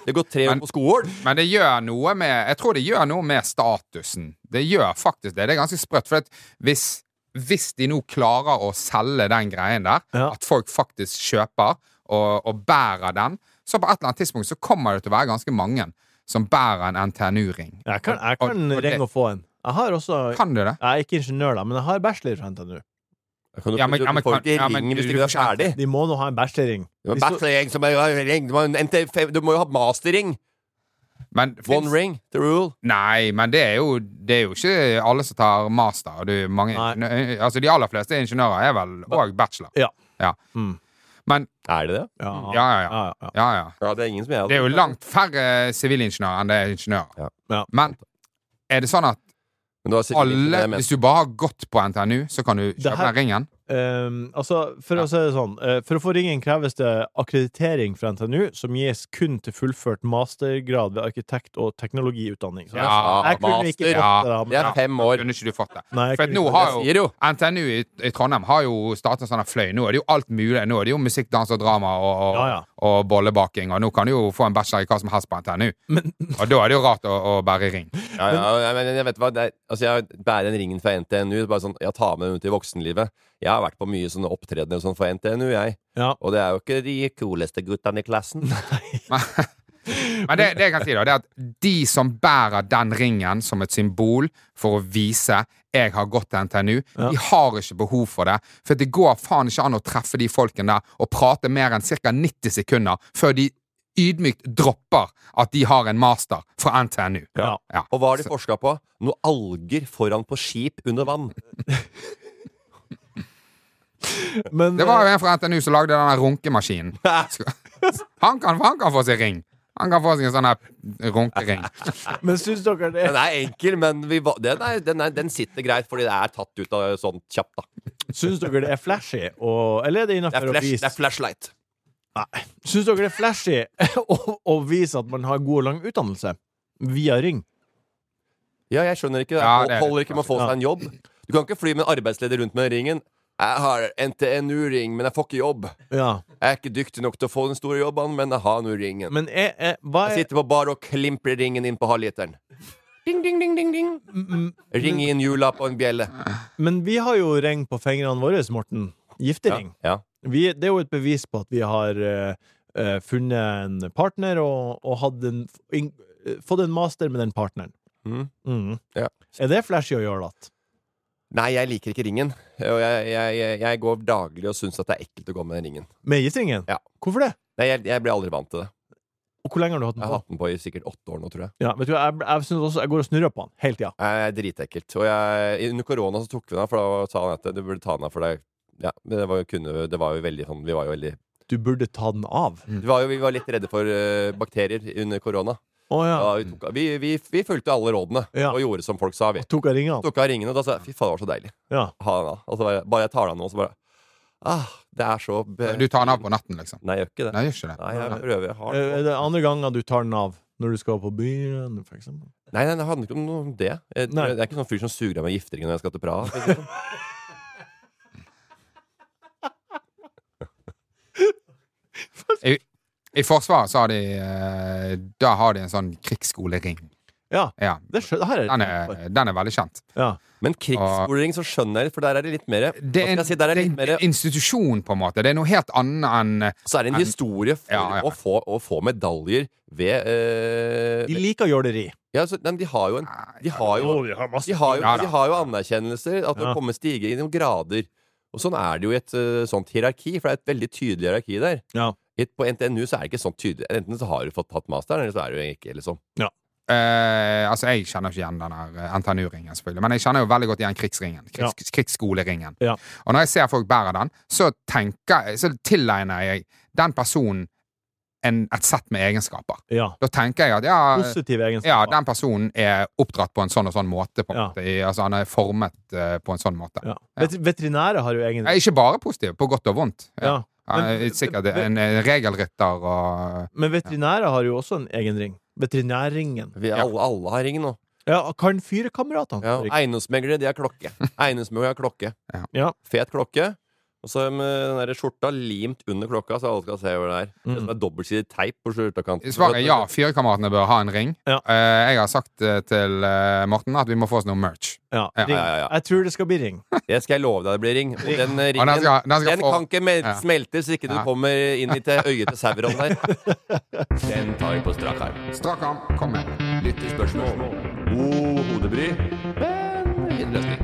[SPEAKER 3] Det går tre år
[SPEAKER 4] Men-
[SPEAKER 3] på skolen.
[SPEAKER 4] Men det gjør noe med Jeg tror det gjør noe med statusen. Det gjør faktisk det. Det er ganske sprøtt. For at hvis, hvis de nå klarer å selge den greien der,
[SPEAKER 2] Ja.
[SPEAKER 4] at folk faktisk kjøper og, og bærer den, så på et eller annet tidspunkt så kommer det til å være ganske mange som bærer en NTNU-ring.
[SPEAKER 2] Jeg kan, jeg kan
[SPEAKER 4] Og- og det-
[SPEAKER 2] ringe og få en. Jeg har også
[SPEAKER 4] Kan du det?
[SPEAKER 2] Jeg er ikke ingeniør, da, men jeg har bachelor fra NTNU.
[SPEAKER 3] Kan du,
[SPEAKER 4] Ja, men-
[SPEAKER 3] du,
[SPEAKER 4] ja, men-
[SPEAKER 3] du får ikke
[SPEAKER 4] ja, men
[SPEAKER 3] ring hvis
[SPEAKER 4] du
[SPEAKER 3] du ikke er
[SPEAKER 4] får ikke-
[SPEAKER 3] ferdig.
[SPEAKER 2] De må nå ha en bachelorring.
[SPEAKER 3] Du må,
[SPEAKER 2] Hvis du-
[SPEAKER 3] bachelorring, så må du ha ring, du må ha en NT5 du må jo ha masterring.
[SPEAKER 4] Men
[SPEAKER 3] One
[SPEAKER 4] finnes-
[SPEAKER 3] ring, the rule.
[SPEAKER 4] Nei, men det er, jo, det er jo ikke alle som tar master. og Du, mange,
[SPEAKER 2] Nei.
[SPEAKER 4] ingeniø- altså, de aller fleste ingeniører er vel òg bachelor.
[SPEAKER 2] Ja.
[SPEAKER 4] Ja.
[SPEAKER 2] Mm.
[SPEAKER 4] Men
[SPEAKER 3] Er det det?
[SPEAKER 2] Ja,
[SPEAKER 4] ja, ja,
[SPEAKER 2] ja,
[SPEAKER 4] ja.
[SPEAKER 2] ja.
[SPEAKER 4] ja, ja.
[SPEAKER 3] Ja, det er ingen som jeg
[SPEAKER 4] Det er jo langt færre sivilingeniører enn det er ingeniører.
[SPEAKER 3] Ja.
[SPEAKER 2] Ja.
[SPEAKER 4] Men er det sånn at
[SPEAKER 3] Men du har sikkert
[SPEAKER 4] alle,
[SPEAKER 3] ikke det,
[SPEAKER 4] hvis du bare har gått på NTNU, så kan du kjøpe
[SPEAKER 2] her-
[SPEAKER 4] den ringen?
[SPEAKER 2] Ehm, altså, for
[SPEAKER 4] Ja.
[SPEAKER 2] å si det sånn eh, For å få ringen kreves det akkreditering fra NTNU, som gis kun til fullført mastergrad ved arkitekt- og teknologiutdanning. Så jeg-
[SPEAKER 4] Ja,
[SPEAKER 2] jeg kunne ikke
[SPEAKER 3] master,
[SPEAKER 2] fått det.
[SPEAKER 4] ja.
[SPEAKER 2] da,
[SPEAKER 3] men
[SPEAKER 2] men-
[SPEAKER 3] det er fem år.
[SPEAKER 4] Kunne ikke du fått det?
[SPEAKER 2] Nei, jeg
[SPEAKER 4] For at
[SPEAKER 2] kunne
[SPEAKER 4] nå
[SPEAKER 2] ikke-
[SPEAKER 4] har
[SPEAKER 3] Jeg
[SPEAKER 4] jo
[SPEAKER 3] sier jo
[SPEAKER 4] NTNU i, i Trondheim har jo startet sånne fløy. Nå er det jo alt mulig. Nå er det jo musikk, dans og drama og, og,
[SPEAKER 2] Ja, ja.
[SPEAKER 4] og bollebaking. Og nå kan du jo få en bachelor i hva som helst på NTNU. og da er det jo rart å, å bære ring.
[SPEAKER 3] Ja, ja, ja, men jeg vet hva det er, Altså, jeg bærer den ringen fra NTNU. Bare sånn, jeg tar med den ut i voksenlivet. Jeg har vært på mye sånne opptredener og sånn for NTNU, jeg.
[SPEAKER 2] Ja.
[SPEAKER 3] Og det er jo ikke de cooleste guttene i klassen.
[SPEAKER 4] Men det, det jeg kan si da, det er at de som bærer den ringen som et symbol for å vise 'jeg har gått til NTNU', de har ikke behov for det. For det går faen ikke an å treffe de folkene der og prate mer enn ca. 90 sekunder før de ydmykt dropper at de har en master fra NTNU.
[SPEAKER 2] Ja.
[SPEAKER 4] Ja.
[SPEAKER 3] Og hva har de forska på? Noe alger foran på skip under vann.
[SPEAKER 2] Men,
[SPEAKER 4] Det var jo en fra NTNU som lagde den der runkemaskinen. Han kan, han kan få seg ring. Han kan få seg en sånn her runkering.
[SPEAKER 2] eh, men syns dere det
[SPEAKER 3] Den er enkel, men vi, va- den, er, den, er, den sitter greit, fordi det er tatt ut av sånn kjapt, da.
[SPEAKER 2] Syns dere det er flashy, og, eller er det
[SPEAKER 3] Det er,
[SPEAKER 2] innafor å
[SPEAKER 3] flash, det
[SPEAKER 2] vise
[SPEAKER 3] er flashlight.
[SPEAKER 2] Syns dere det er flashy å, å vise at man har god og lang utdannelse via ring?
[SPEAKER 3] Ja, jeg skjønner ikke.
[SPEAKER 4] Ja,
[SPEAKER 3] Hol-
[SPEAKER 4] det er
[SPEAKER 3] Holder ikke med å få seg en jobb. Du kan ikke fly med en arbeidsleder rundt med ringen. Jeg har NTNU-ring, men jeg får ikke jobb.
[SPEAKER 2] Ja.
[SPEAKER 3] Jeg er ikke dyktig nok til å få den store jobben, men jeg har nå ringen.
[SPEAKER 2] Men er, er, hva
[SPEAKER 3] Jeg
[SPEAKER 2] er
[SPEAKER 3] sitter på bar og klimper ringen inn på halvliteren. Ding, ding, ding, ding, ding.
[SPEAKER 2] m-
[SPEAKER 3] Ring inn hjula på en bjelle.
[SPEAKER 2] Men vi har jo ring på fingrene våre, Morten. Giftering.
[SPEAKER 3] Ja.
[SPEAKER 2] Vi, det er jo et bevis på at vi har eh, eh, funnet en partner og, og hatt en, ing- eh, fått en master med den partneren.
[SPEAKER 3] Mhm.
[SPEAKER 2] Mhm.
[SPEAKER 3] Ja.
[SPEAKER 2] Er det flashy å gjøre det?
[SPEAKER 3] Nei, jeg liker ikke ringen. Og jeg, jeg, jeg, jeg går daglig og syns at det er ekkelt å gå med den ringen.
[SPEAKER 2] Med giftringen?
[SPEAKER 3] Ja.
[SPEAKER 2] Hvorfor det?
[SPEAKER 3] Nei, jeg, jeg blir aldri vant til det.
[SPEAKER 2] Og hvor lenge har du hatt
[SPEAKER 3] Jeg
[SPEAKER 2] den
[SPEAKER 3] har
[SPEAKER 2] på?
[SPEAKER 3] hatt den på i sikkert åtte år nå, tror jeg.
[SPEAKER 2] Ja, vet du, jeg, jeg, synes også, jeg går og snurrer på den hele tida.
[SPEAKER 3] Jeg er dritekkelt. Og jeg, under korona så tok vi den av, for da sa han at du burde ta den av for deg. Ja, men det var jo, kunne, det var jo veldig sånn Vi var jo veldig
[SPEAKER 2] Du burde ta den av. Å
[SPEAKER 3] Vi var, jo, vi var litt redde for eh, bakterier under korona.
[SPEAKER 2] ja.
[SPEAKER 3] Da vi, tok, vi, vi, vi fulgte alle rådene
[SPEAKER 2] Ja.
[SPEAKER 3] og gjorde som folk sa, vi.
[SPEAKER 2] Tok jeg ringene?
[SPEAKER 3] Tok av ringene, og da sa jeg fy faen, det var så deilig.
[SPEAKER 2] Ja.
[SPEAKER 3] Ha den av. Og så bare, bare jeg tar den av nå, så bare ah, Det er så be
[SPEAKER 4] Du tar den av på natten, liksom.
[SPEAKER 3] Nei, jeg gjør ikke det.
[SPEAKER 4] Nei, gjør ikke det.
[SPEAKER 3] Nei, jeg prøver. Jeg har
[SPEAKER 2] Eh, Er det andre ganger du tar den av? Når du skal på byen, for eksempel?
[SPEAKER 3] Nei, nei, det handler ikke om noe om det. Jeg,
[SPEAKER 2] Nei.
[SPEAKER 3] jeg er ikke sånn fyr som suger av meg gifteringen når jeg skal til Praha. for å si det sånn.
[SPEAKER 4] I Forsvaret så har de eh, Da har de en sånn krigsskolering.
[SPEAKER 2] Ja.
[SPEAKER 4] Ja.
[SPEAKER 2] Det skjø- her er
[SPEAKER 4] Den er, den er veldig kjent.
[SPEAKER 2] Ja.
[SPEAKER 3] Men krigskolering så skjønner jeg litt, for der er det litt mer
[SPEAKER 4] Ah. Det er
[SPEAKER 3] hva skal
[SPEAKER 4] en,
[SPEAKER 3] jeg si, der er det litt
[SPEAKER 4] det er
[SPEAKER 3] mer
[SPEAKER 4] en institusjon, på en måte. Det er noe helt annet enn
[SPEAKER 3] Så er det en
[SPEAKER 4] Men-
[SPEAKER 3] historie for
[SPEAKER 4] Ja, ja.
[SPEAKER 3] Å, få, å få medaljer ved eh,
[SPEAKER 2] De liker jåleri.
[SPEAKER 3] ja, så, nei, men De har jo en
[SPEAKER 4] eh,
[SPEAKER 3] De har jo,
[SPEAKER 2] de har masse
[SPEAKER 3] de har jo,
[SPEAKER 4] Ja, da.
[SPEAKER 3] de har jo anerkjennelser. At det
[SPEAKER 2] Ja.
[SPEAKER 3] kommer stige i noen grader. Og sånn er det jo i et eh, sånt hierarki, for det er et veldig tydelig hierarki der.
[SPEAKER 2] Ja.
[SPEAKER 3] I- På NTNU så er det ikke sånn tydelig. Enten så har du fått tatt masteren, eller så er du ikke, liksom.
[SPEAKER 4] eh, Altså, jeg kjenner ikke igjen den her eh, NTNU-ringen, selvfølgelig. Men jeg kjenner jo veldig godt igjen krigsringen. Krigs, Krigsskoleringen.
[SPEAKER 2] Ja.
[SPEAKER 4] Og når jeg ser folk bære den, så tenker Så tilegner jeg den personen en, et sett med egenskaper.
[SPEAKER 2] Ja.
[SPEAKER 4] Da tenker jeg at ja
[SPEAKER 2] Positive egenskaper.
[SPEAKER 4] Ja, den personen er oppdratt på en sånn og sånn måte. På en
[SPEAKER 2] Ja.
[SPEAKER 4] måte. I, altså, han er formet eh, på en sånn måte.
[SPEAKER 2] Ja. Vet, veterinærer har jo egen
[SPEAKER 4] Nei, Ikke bare positiv, på godt og vondt.
[SPEAKER 2] Ja.
[SPEAKER 4] Ja,
[SPEAKER 2] Men-
[SPEAKER 4] sikkert en en regelrytter og
[SPEAKER 2] Men veterinærer har jo også en egen ring. Veterinærringen.
[SPEAKER 3] Vi er,
[SPEAKER 4] Ja.
[SPEAKER 3] alle, alle har ring nå.
[SPEAKER 2] Ja, Kan fyrekameratene
[SPEAKER 3] Ja,
[SPEAKER 2] drikke?
[SPEAKER 3] Eiendomsmeglere, de har klokke. Eiendomsmeglere har klokke.
[SPEAKER 4] Ja.
[SPEAKER 2] Ja.
[SPEAKER 3] Fet klokke. Og så med den der skjorta limt under klokka, så alle skal se hvor det er. Det er som er dobbeltsidig teip på skjortekanten.
[SPEAKER 4] Svaret er Mm. ja. Firekameratene bør ha en ring.
[SPEAKER 2] Ja.
[SPEAKER 4] Eh, Jeg har sagt eh, til eh, Morten at vi må få oss noe merch.
[SPEAKER 2] Ja,
[SPEAKER 4] Ja,
[SPEAKER 2] ring.
[SPEAKER 3] ja, ja, ja.
[SPEAKER 2] Jeg tror det skal bli ring.
[SPEAKER 3] Det skal jeg love deg det blir ring. Og den eh,
[SPEAKER 4] Og den
[SPEAKER 3] ringen
[SPEAKER 4] skal, den skal
[SPEAKER 3] Den
[SPEAKER 4] få
[SPEAKER 3] kan ikke mel-
[SPEAKER 4] Ja.
[SPEAKER 3] smelte hvis ikke du
[SPEAKER 4] Ja.
[SPEAKER 3] kommer inn i til øyet til Sauron der. Den tar vi på strak arm.
[SPEAKER 4] Strak arm. Kom med.
[SPEAKER 3] Lyttespørsmål. God hodebry, men fin løsning.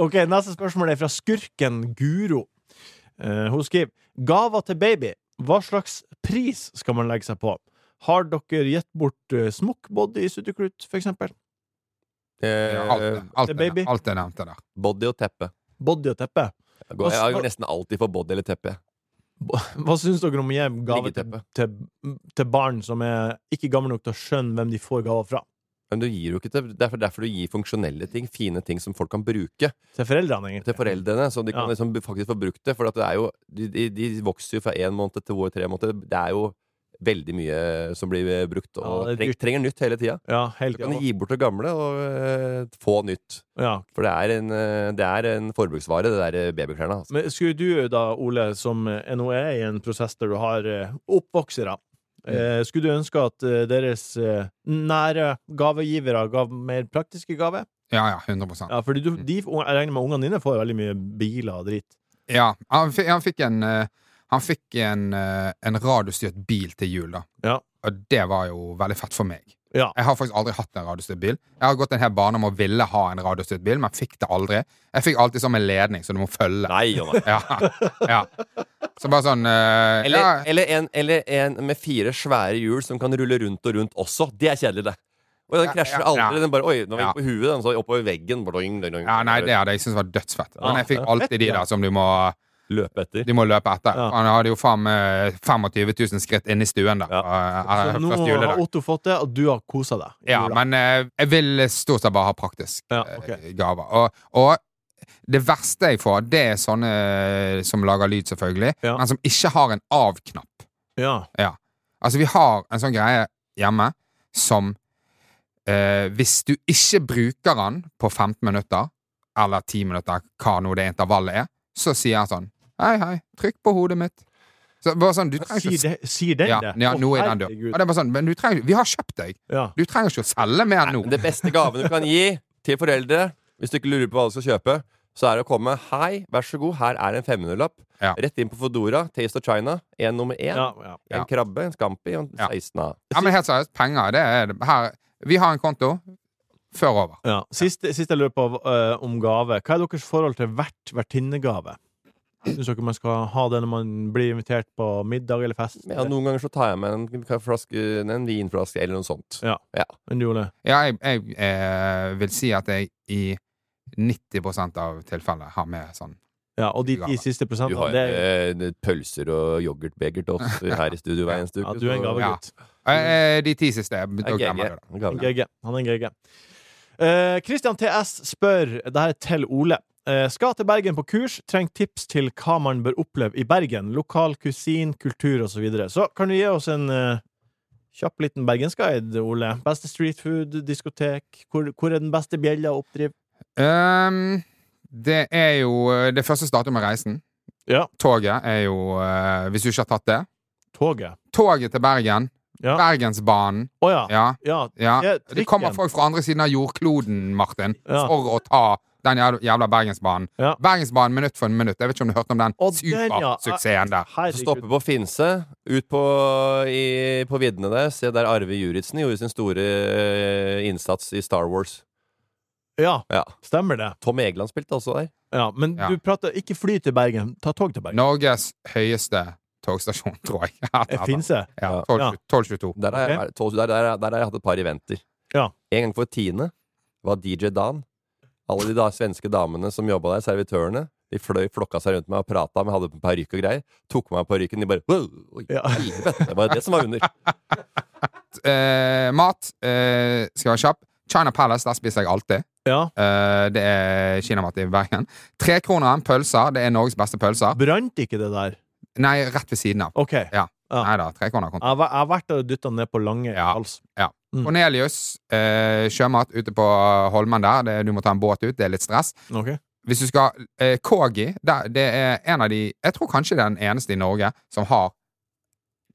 [SPEAKER 2] OK, neste spørsmål er fra skurken Guro. Eh, hun skriver Gaver til baby. Hva slags pris skal man legge seg på? Har dere gitt bort uh, smokkbody i Sutteklut, for eksempel?
[SPEAKER 4] Ja, Alt,
[SPEAKER 3] Eh,
[SPEAKER 4] alt, er-
[SPEAKER 2] baby.
[SPEAKER 4] alt er nevnt det der.
[SPEAKER 3] body og teppe.
[SPEAKER 2] Body og teppe.
[SPEAKER 3] Jeg går, jeg går nesten alltid for body eller teppe.
[SPEAKER 2] Bo- Hva syns dere om å gi gave til,
[SPEAKER 3] Liggeteppe.
[SPEAKER 2] til, til barn som er ikke gamle nok til å skjønne hvem de får gaver fra?
[SPEAKER 3] Men du gir jo ikke til, det er derfor du gir funksjonelle ting, fine ting som folk kan bruke
[SPEAKER 2] Til foreldrene, egentlig.
[SPEAKER 3] til foreldrene. Så de kan
[SPEAKER 2] Ja.
[SPEAKER 3] liksom faktisk få brukt det. For at det er jo, de, de, de vokser jo fra én måned til tre måneder. Det er jo veldig mye som blir eh, brukt, og
[SPEAKER 2] Ja, det er
[SPEAKER 3] treng,
[SPEAKER 2] dyrt.
[SPEAKER 3] trenger nytt hele tida.
[SPEAKER 2] Ja, helt
[SPEAKER 3] Du kan
[SPEAKER 2] klart.
[SPEAKER 3] gi bort det gamle og eh, få nytt.
[SPEAKER 2] Ja.
[SPEAKER 3] For det er en, eh, det er en forbruksvare, det der eh, babyklærne. Altså.
[SPEAKER 2] Men skulle du da, Ole, som eh, nå er i en prosess der du har eh, oppvoksere eh, Skulle du ønske at eh, deres eh, nære gavegivere ga mer praktiske gaver?
[SPEAKER 4] Ja, ja. 100
[SPEAKER 2] Ja, fordi
[SPEAKER 4] Mm.
[SPEAKER 2] du, de, jeg regner med ungene dine får veldig mye biler og drit.
[SPEAKER 4] Ja, han, fi- han fikk en eh, Han fikk en, eh, en radiostyrt bil til jul, da.
[SPEAKER 2] Ja.
[SPEAKER 4] Og det var jo veldig fett for meg.
[SPEAKER 2] Ja.
[SPEAKER 4] Jeg har faktisk aldri hatt en radiostyrt bil. Jeg har gått en hel bane om å ville ha en radiostyrt bil, men fikk det aldri. Jeg fikk alltid sånn med ledning, så du må følge.
[SPEAKER 3] Nei, Jonna.
[SPEAKER 4] Ja, ja. Så bare sånn eh,
[SPEAKER 3] Eller,
[SPEAKER 4] ja,
[SPEAKER 3] eller, en, eller en med fire svære hjul som kan rulle rundt og rundt også. Det er kjedelig, det. Og den
[SPEAKER 4] Ja,
[SPEAKER 3] krasjer
[SPEAKER 4] ja,
[SPEAKER 3] aldri.
[SPEAKER 4] ja.
[SPEAKER 3] Den bare, oi, nå var
[SPEAKER 4] Ja.
[SPEAKER 3] jeg på huet, den så oppover veggen. Bloing, bloing, bloing.
[SPEAKER 4] ja, Nei, det hadde jeg syntes var dødsfett. Men jeg fikk alltid de der som du må,
[SPEAKER 3] Løpe etter.
[SPEAKER 4] du må løpe etter.
[SPEAKER 2] Ja.
[SPEAKER 4] Han hadde jo faen meg 25 000 skritt inne i stuen der. eh, eh,
[SPEAKER 2] Så nå
[SPEAKER 4] første
[SPEAKER 2] har
[SPEAKER 4] juledag.
[SPEAKER 2] Otto fått det, og du har kosa deg.
[SPEAKER 4] Ja,
[SPEAKER 2] Jula.
[SPEAKER 4] men eh, jeg vil stort sett bare ha praktisk
[SPEAKER 2] Ja,
[SPEAKER 4] eh,
[SPEAKER 2] ok.
[SPEAKER 4] gaver. Og, og det verste jeg får, det er sånne eh, som lager lyd, selvfølgelig,
[SPEAKER 2] Ja.
[SPEAKER 4] men som ikke har en av-knapp.
[SPEAKER 2] ja.
[SPEAKER 4] Altså, vi har en sånn greie hjemme som eh, Hvis du ikke bruker den på 15 minutter, eller 10 minutter, hva nå det intervallet er, så sier han sånn Hei, hei, trykk på hodet mitt. Så bare sånn, du trenger
[SPEAKER 2] Sier
[SPEAKER 4] ikke
[SPEAKER 2] det- sier den
[SPEAKER 4] ja,
[SPEAKER 2] det?
[SPEAKER 4] ja,
[SPEAKER 2] Å,
[SPEAKER 4] nå er den død.
[SPEAKER 2] herregud.
[SPEAKER 4] Og det er bare sånn, men du trenger, vi har kjøpt deg.
[SPEAKER 2] Ja.
[SPEAKER 4] Du trenger ikke å selge mer nå.
[SPEAKER 3] Det beste gaven du kan gi til foreldre, hvis du ikke lurer på hva du skal kjøpe, så er det å komme Hei, vær så god, her er en 500-lapp.
[SPEAKER 4] Ja.
[SPEAKER 3] Rett inn på Foodora, Taste of China. En nummer én.
[SPEAKER 2] Ja, ja.
[SPEAKER 3] En krabbe, en scampi og en
[SPEAKER 4] Ja.
[SPEAKER 3] 16 av.
[SPEAKER 4] Ja, men helt seriøst, penger det er det. Her, Vi har en konto. Før over.
[SPEAKER 2] Ja. Sist, sist jeg lurer på eh, om gave. Hva er deres forhold til vert vertinnegave? Syns dere man skal ha det når man blir invitert på middag eller fest?
[SPEAKER 3] Ja, noen ganger så tar jeg med en, flaske, en vinflaske eller noe sånt.
[SPEAKER 2] Ja.
[SPEAKER 3] Ja.
[SPEAKER 2] Men du, Ole?
[SPEAKER 4] Ja, jeg, jeg eh, vil si at jeg i 90 av tilfellene har med sånn.
[SPEAKER 2] Ja, og de ti
[SPEAKER 4] Gave.
[SPEAKER 2] siste
[SPEAKER 3] Du
[SPEAKER 2] prosentene
[SPEAKER 3] har
[SPEAKER 2] det,
[SPEAKER 3] eh, pølser og yoghurtbeger til oss her i studio hver eneste uke.
[SPEAKER 2] Ja, du er en
[SPEAKER 3] så-
[SPEAKER 2] gavegutt.
[SPEAKER 4] Eh, eh, de ti siste. Da
[SPEAKER 3] Ja,
[SPEAKER 4] glemmer jeg det.
[SPEAKER 3] GG. Gave.
[SPEAKER 2] GG. Han er en GG. Eh, Christian TS spør Det her er til Ole. Eh, skal til Bergen på kurs. Trenger tips til hva man bør oppleve i Bergen. Lokal kusin, kultur osv. Så, videre. så kan du gi oss en eh, kjapp liten bergensguide, Ole. Beste street food, diskotek. Hvor, hvor er den beste bjella å oppdrive?
[SPEAKER 4] Ehm, det er jo eh, Det første starter med reisen.
[SPEAKER 2] Ja.
[SPEAKER 4] Toget er jo eh, Hvis du ikke har tatt det.
[SPEAKER 2] Toget.
[SPEAKER 4] Toget til Bergen.
[SPEAKER 2] Ja.
[SPEAKER 4] Bergensbanen.
[SPEAKER 2] Å ja.
[SPEAKER 4] Ja.
[SPEAKER 2] Ja.
[SPEAKER 4] ja.
[SPEAKER 2] Ja,
[SPEAKER 4] Det kommer
[SPEAKER 2] trikken.
[SPEAKER 4] folk fra andre siden av jordkloden, Martin,
[SPEAKER 2] Ja.
[SPEAKER 4] for å ta den jævla- jævla Bergensbanen.
[SPEAKER 2] Ja.
[SPEAKER 4] Bergensbanen minutt for en minutt. Jeg vet ikke om du hørte om den
[SPEAKER 2] Og den, ja.
[SPEAKER 4] supersuksessen der.
[SPEAKER 3] Så Stoppe på Finse, ut på, i, på viddene der, se der Arve Juritzen gjorde sin store eh, innsats i Star Wars.
[SPEAKER 2] Ja,
[SPEAKER 3] Ja.
[SPEAKER 2] stemmer det.
[SPEAKER 3] Tom Egeland spilte også der.
[SPEAKER 2] Ja, men
[SPEAKER 4] Ja.
[SPEAKER 2] du prater ikke fly til Bergen, ta tog til Bergen.
[SPEAKER 4] Norges høyeste togstasjon, tror jeg.
[SPEAKER 2] Eh, Finse.
[SPEAKER 4] Ja,
[SPEAKER 3] Ja.
[SPEAKER 4] 12 1222.
[SPEAKER 3] Der har, jeg,
[SPEAKER 2] Ok.
[SPEAKER 3] er- tolv- der, der, der har jeg hatt et par eventer.
[SPEAKER 2] Ja.
[SPEAKER 3] En gang for tiende var DJ Dan. Alle de da, svenske damene som jobba der, servitørene, de fløy flokka seg rundt meg og prata, men hadde på parykk og greier. Tok meg av parykken, de bare «Wow, oi,
[SPEAKER 2] Ja.
[SPEAKER 3] helvete!» Det var det som var under.
[SPEAKER 4] Eh, mat eh, skal være kjapp. China Palace, der spiser jeg alltid.
[SPEAKER 2] Ja.
[SPEAKER 4] Eh, det er kinamat i Bergen. Trekroneren, pølser. Det er Norges beste pølser.
[SPEAKER 2] Brant ikke det der?
[SPEAKER 4] Nei, rett ved siden av.
[SPEAKER 2] OK.
[SPEAKER 4] Ja.
[SPEAKER 2] Ja.
[SPEAKER 4] Nei da, trekroner.
[SPEAKER 2] Jeg har væ- jeg har vært der og dytta ned på lange
[SPEAKER 4] Ja.
[SPEAKER 2] hals. Mm.
[SPEAKER 4] Cornelius, eh, sjømat ute på Holmen der. Det, du må ta en båt ut, det er litt stress.
[SPEAKER 2] Ok.
[SPEAKER 4] Hvis du skal eh, Kogi, der, det er en av de Jeg tror kanskje det er den eneste i Norge som har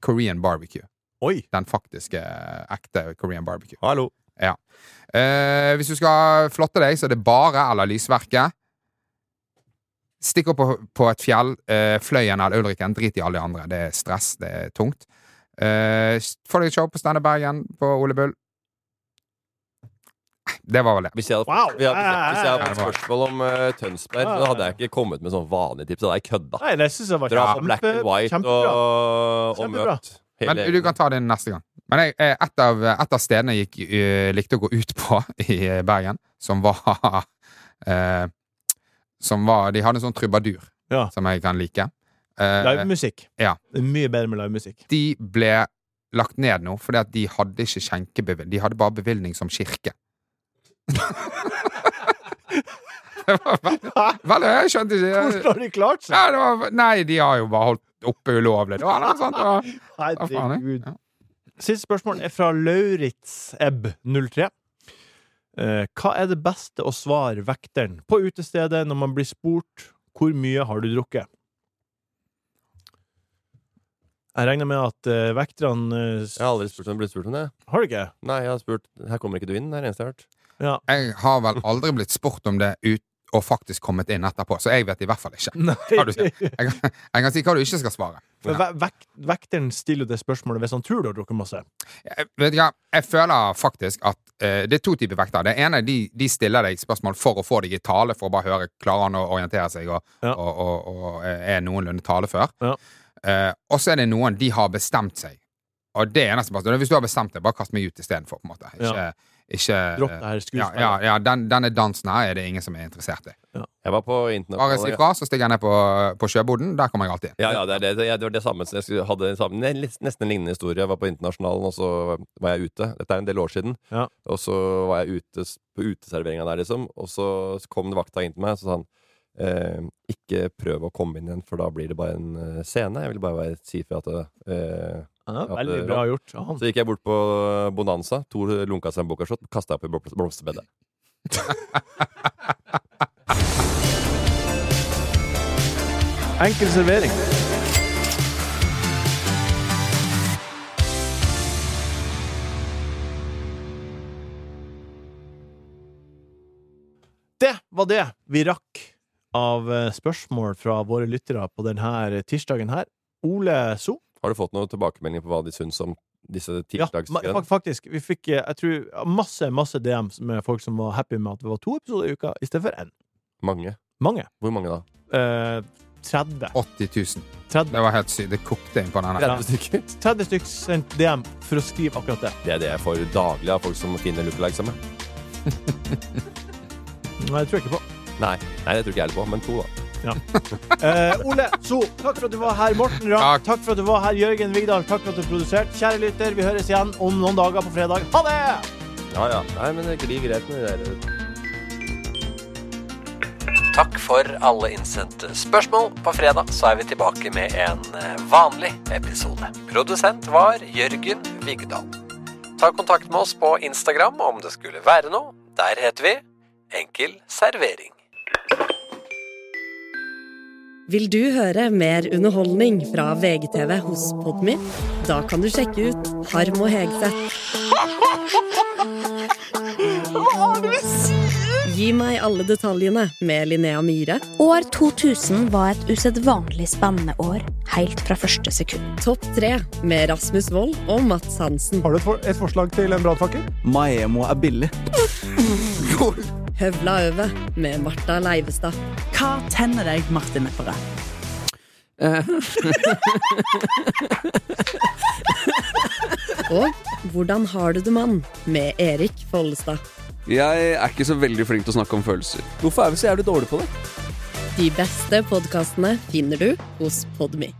[SPEAKER 4] Korean barbecue.
[SPEAKER 2] Oi.
[SPEAKER 4] Den faktiske, eh, ekte Korean barbecue.
[SPEAKER 3] Hallo.
[SPEAKER 4] Ja. Eh, hvis du skal flotte deg, så er det bare eller lysverket. Stikk opp på, på et fjell, eh, Fløyen eller Ulriken. Drit i alle de andre. Det er stress, det er tungt. Eh, få deg et show på Stande Bergen, på Ole Bull. Nei, Det var vel det.
[SPEAKER 3] Hvis jeg hadde,
[SPEAKER 2] Wow.
[SPEAKER 3] hvis jeg, hvis jeg hadde fått
[SPEAKER 4] Ja, ja, ja.
[SPEAKER 3] spørsmål om eh, Tønsberg, så hadde jeg ikke kommet med sånn vanlige tips. Da hadde jeg kødda.
[SPEAKER 2] Nei, det syns jeg var
[SPEAKER 3] Dra på black
[SPEAKER 2] kjempe,
[SPEAKER 3] and white
[SPEAKER 2] kjempebra.
[SPEAKER 3] og, og
[SPEAKER 2] Kjempebra.
[SPEAKER 3] møtt
[SPEAKER 4] Men du kan ta det neste gang. Men jeg, eh, et, av, et av stedene jeg gikk, eh, likte å gå ut på i eh, Bergen, som var eh, Som var De hadde en sånn trubadur
[SPEAKER 2] Ja.
[SPEAKER 4] som jeg kan like. Eh,
[SPEAKER 2] Livemusikk.
[SPEAKER 4] Ja.
[SPEAKER 2] Det er Mye bedre med
[SPEAKER 3] Eh,
[SPEAKER 2] livemusikk.
[SPEAKER 4] de ble lagt ned nå fordi at de hadde ikke skjenkebevilgning. De hadde bare bevilgning som kirke. det var veldig, veldig, jeg skjønte
[SPEAKER 2] Hvordan
[SPEAKER 4] ikke
[SPEAKER 2] har de klart
[SPEAKER 4] ja,
[SPEAKER 2] seg?
[SPEAKER 4] det var, Nei, de har jo bare holdt oppe ulovlig. Det var noe sånt. det var- Hva faen er det?
[SPEAKER 2] Herregud.
[SPEAKER 4] Ja.
[SPEAKER 2] Siste spørsmål er fra Lauritz Ebb 03. Eh, hva er det beste å svare vekteren på utestedet når man blir spurt hvor mye har du drukket? Jeg regner med at eh, vekterne eh, s-
[SPEAKER 3] Jeg har aldri spurt om, blitt spurt om det.
[SPEAKER 2] Har du ikke?
[SPEAKER 3] Nei, jeg har spurt Her kommer ikke du inn, det er det eneste jeg har hørt.
[SPEAKER 4] Jeg har vel aldri blitt spurt om det ut og faktisk kommet inn etterpå, så jeg vet i hvert fall ikke.
[SPEAKER 2] Nei.
[SPEAKER 4] Har du ikke? Jeg, kan- jeg kan si hva du ikke skal svare.
[SPEAKER 2] For ve vek vekteren stiller jo det spørsmålet hvis han tror du har drukket masse.
[SPEAKER 4] Jeg, vet du hva? jeg føler faktisk at eh, det er to typer vekter. Det ene er de, de stiller deg spørsmål for å få deg i tale, for å bare høre klarer han å orientere seg og,
[SPEAKER 2] Ja.
[SPEAKER 4] og, og, og, eh, er noenlunde talefør.
[SPEAKER 2] Ja.
[SPEAKER 4] Eh, og så er det noen de har bestemt seg. Og det er nesten bare Hvis du har bestemt deg, bare kast meg ut istedenfor. på en måte. Ikke,
[SPEAKER 2] Ja.
[SPEAKER 4] ikke eh,
[SPEAKER 2] Dropp det her
[SPEAKER 4] ja,
[SPEAKER 2] skuespillet.
[SPEAKER 4] ja, ja, den, denne dansen her er det ingen som er interessert i.
[SPEAKER 3] Jeg var på
[SPEAKER 4] Bare si
[SPEAKER 3] internasjonale
[SPEAKER 4] fra, så stiger jeg ned på, på sjøboden. Der kommer jeg alltid inn.
[SPEAKER 3] Ja, ja, det, er det, det, det var det samme. Jeg skulle- hadde en samme, ne- lis- nesten en lignende historie. Jeg var på Internasjonalen, og så var jeg ute. Dette er en del år siden.
[SPEAKER 2] Ja.
[SPEAKER 3] Og så var jeg ute s- på uteserveringa der, liksom. Og så kom vakta inn til meg og så sa han eh, ikke prøv å komme inn igjen, for da blir det bare en eh, scene. Jeg ville bare være, si fra at eh,
[SPEAKER 2] Ja,
[SPEAKER 3] Ja,
[SPEAKER 2] veldig
[SPEAKER 3] det-
[SPEAKER 2] bra gjort av han.
[SPEAKER 3] Så gikk jeg bort på Bonanza, Tor lunka seg en bokkashot, kasta opp i blom- blomsterbedet.
[SPEAKER 2] Enkel servering. Det var det vi rakk av eh, spørsmål fra våre lyttere på denne tirsdagen her. Ole So.
[SPEAKER 3] Har du fått noen tilbakemeldinger på hva de syns om disse
[SPEAKER 2] Ja, ma-
[SPEAKER 3] tirsdagsgreiene?
[SPEAKER 2] fak- faktisk. Vi fikk eh, jeg tror, masse masse DMs med folk som var happy med at det var to episoder i uka i stedet for én.
[SPEAKER 3] mange.
[SPEAKER 2] Mange.
[SPEAKER 3] Hvor mange da?
[SPEAKER 2] Eh, 30.
[SPEAKER 4] 80 000.
[SPEAKER 2] 30,
[SPEAKER 4] Det var helt sykt. Det kokte inn på den her.
[SPEAKER 3] 30 stykker?
[SPEAKER 2] 30 stykker sendt DM for å skrive akkurat det.
[SPEAKER 3] Det er det jeg får daglig av folk som finner lookalikes av meg.
[SPEAKER 2] Nei, det tror jeg ikke på.
[SPEAKER 3] Nei, nei, det tror ikke jeg heller på, men to, da.
[SPEAKER 2] Eh, Ole So, takk for at du var her. Morten Ramm, takk.
[SPEAKER 4] Takk.
[SPEAKER 2] for at du var her. Jørgen Vigdal, takk for at du produserte. Kjære lytter, vi høres igjen om noen dager på fredag. Ha det!
[SPEAKER 3] Ja, ja. Nei, men det glir greit med det der.
[SPEAKER 6] Takk for alle innsendte spørsmål. På fredag så er vi tilbake med en eh, vanlig episode. Produsent var Jørgen Vigdal. Ta kontakt med oss på Instagram om det skulle være noe. Der heter vi Enkel servering.
[SPEAKER 7] Vil du høre mer underholdning fra VGTV hos Podmy? Da kan du sjekke ut Harm og Hegseth. Gi meg alle detaljene med Linnea Myhre.
[SPEAKER 8] År 2000 var et usedvanlig spennende år, helt fra første sekund.
[SPEAKER 7] Topp tre med Rasmus Wold og Mats Hansen.
[SPEAKER 2] Har du et, forslag til en brannfakkel?
[SPEAKER 9] Maemo er billig.
[SPEAKER 7] høvla over med Marta Leivestad.
[SPEAKER 10] Hva tenner deg, Martin Nepperød?
[SPEAKER 7] Eh. Og Hvordan har du det, mann? med Erik Follestad.
[SPEAKER 3] Jeg er ikke så veldig flink til å snakke om følelser. Hvorfor er vi så jævlig dårlige på det?
[SPEAKER 7] De beste podkastene finner du hos Podmy.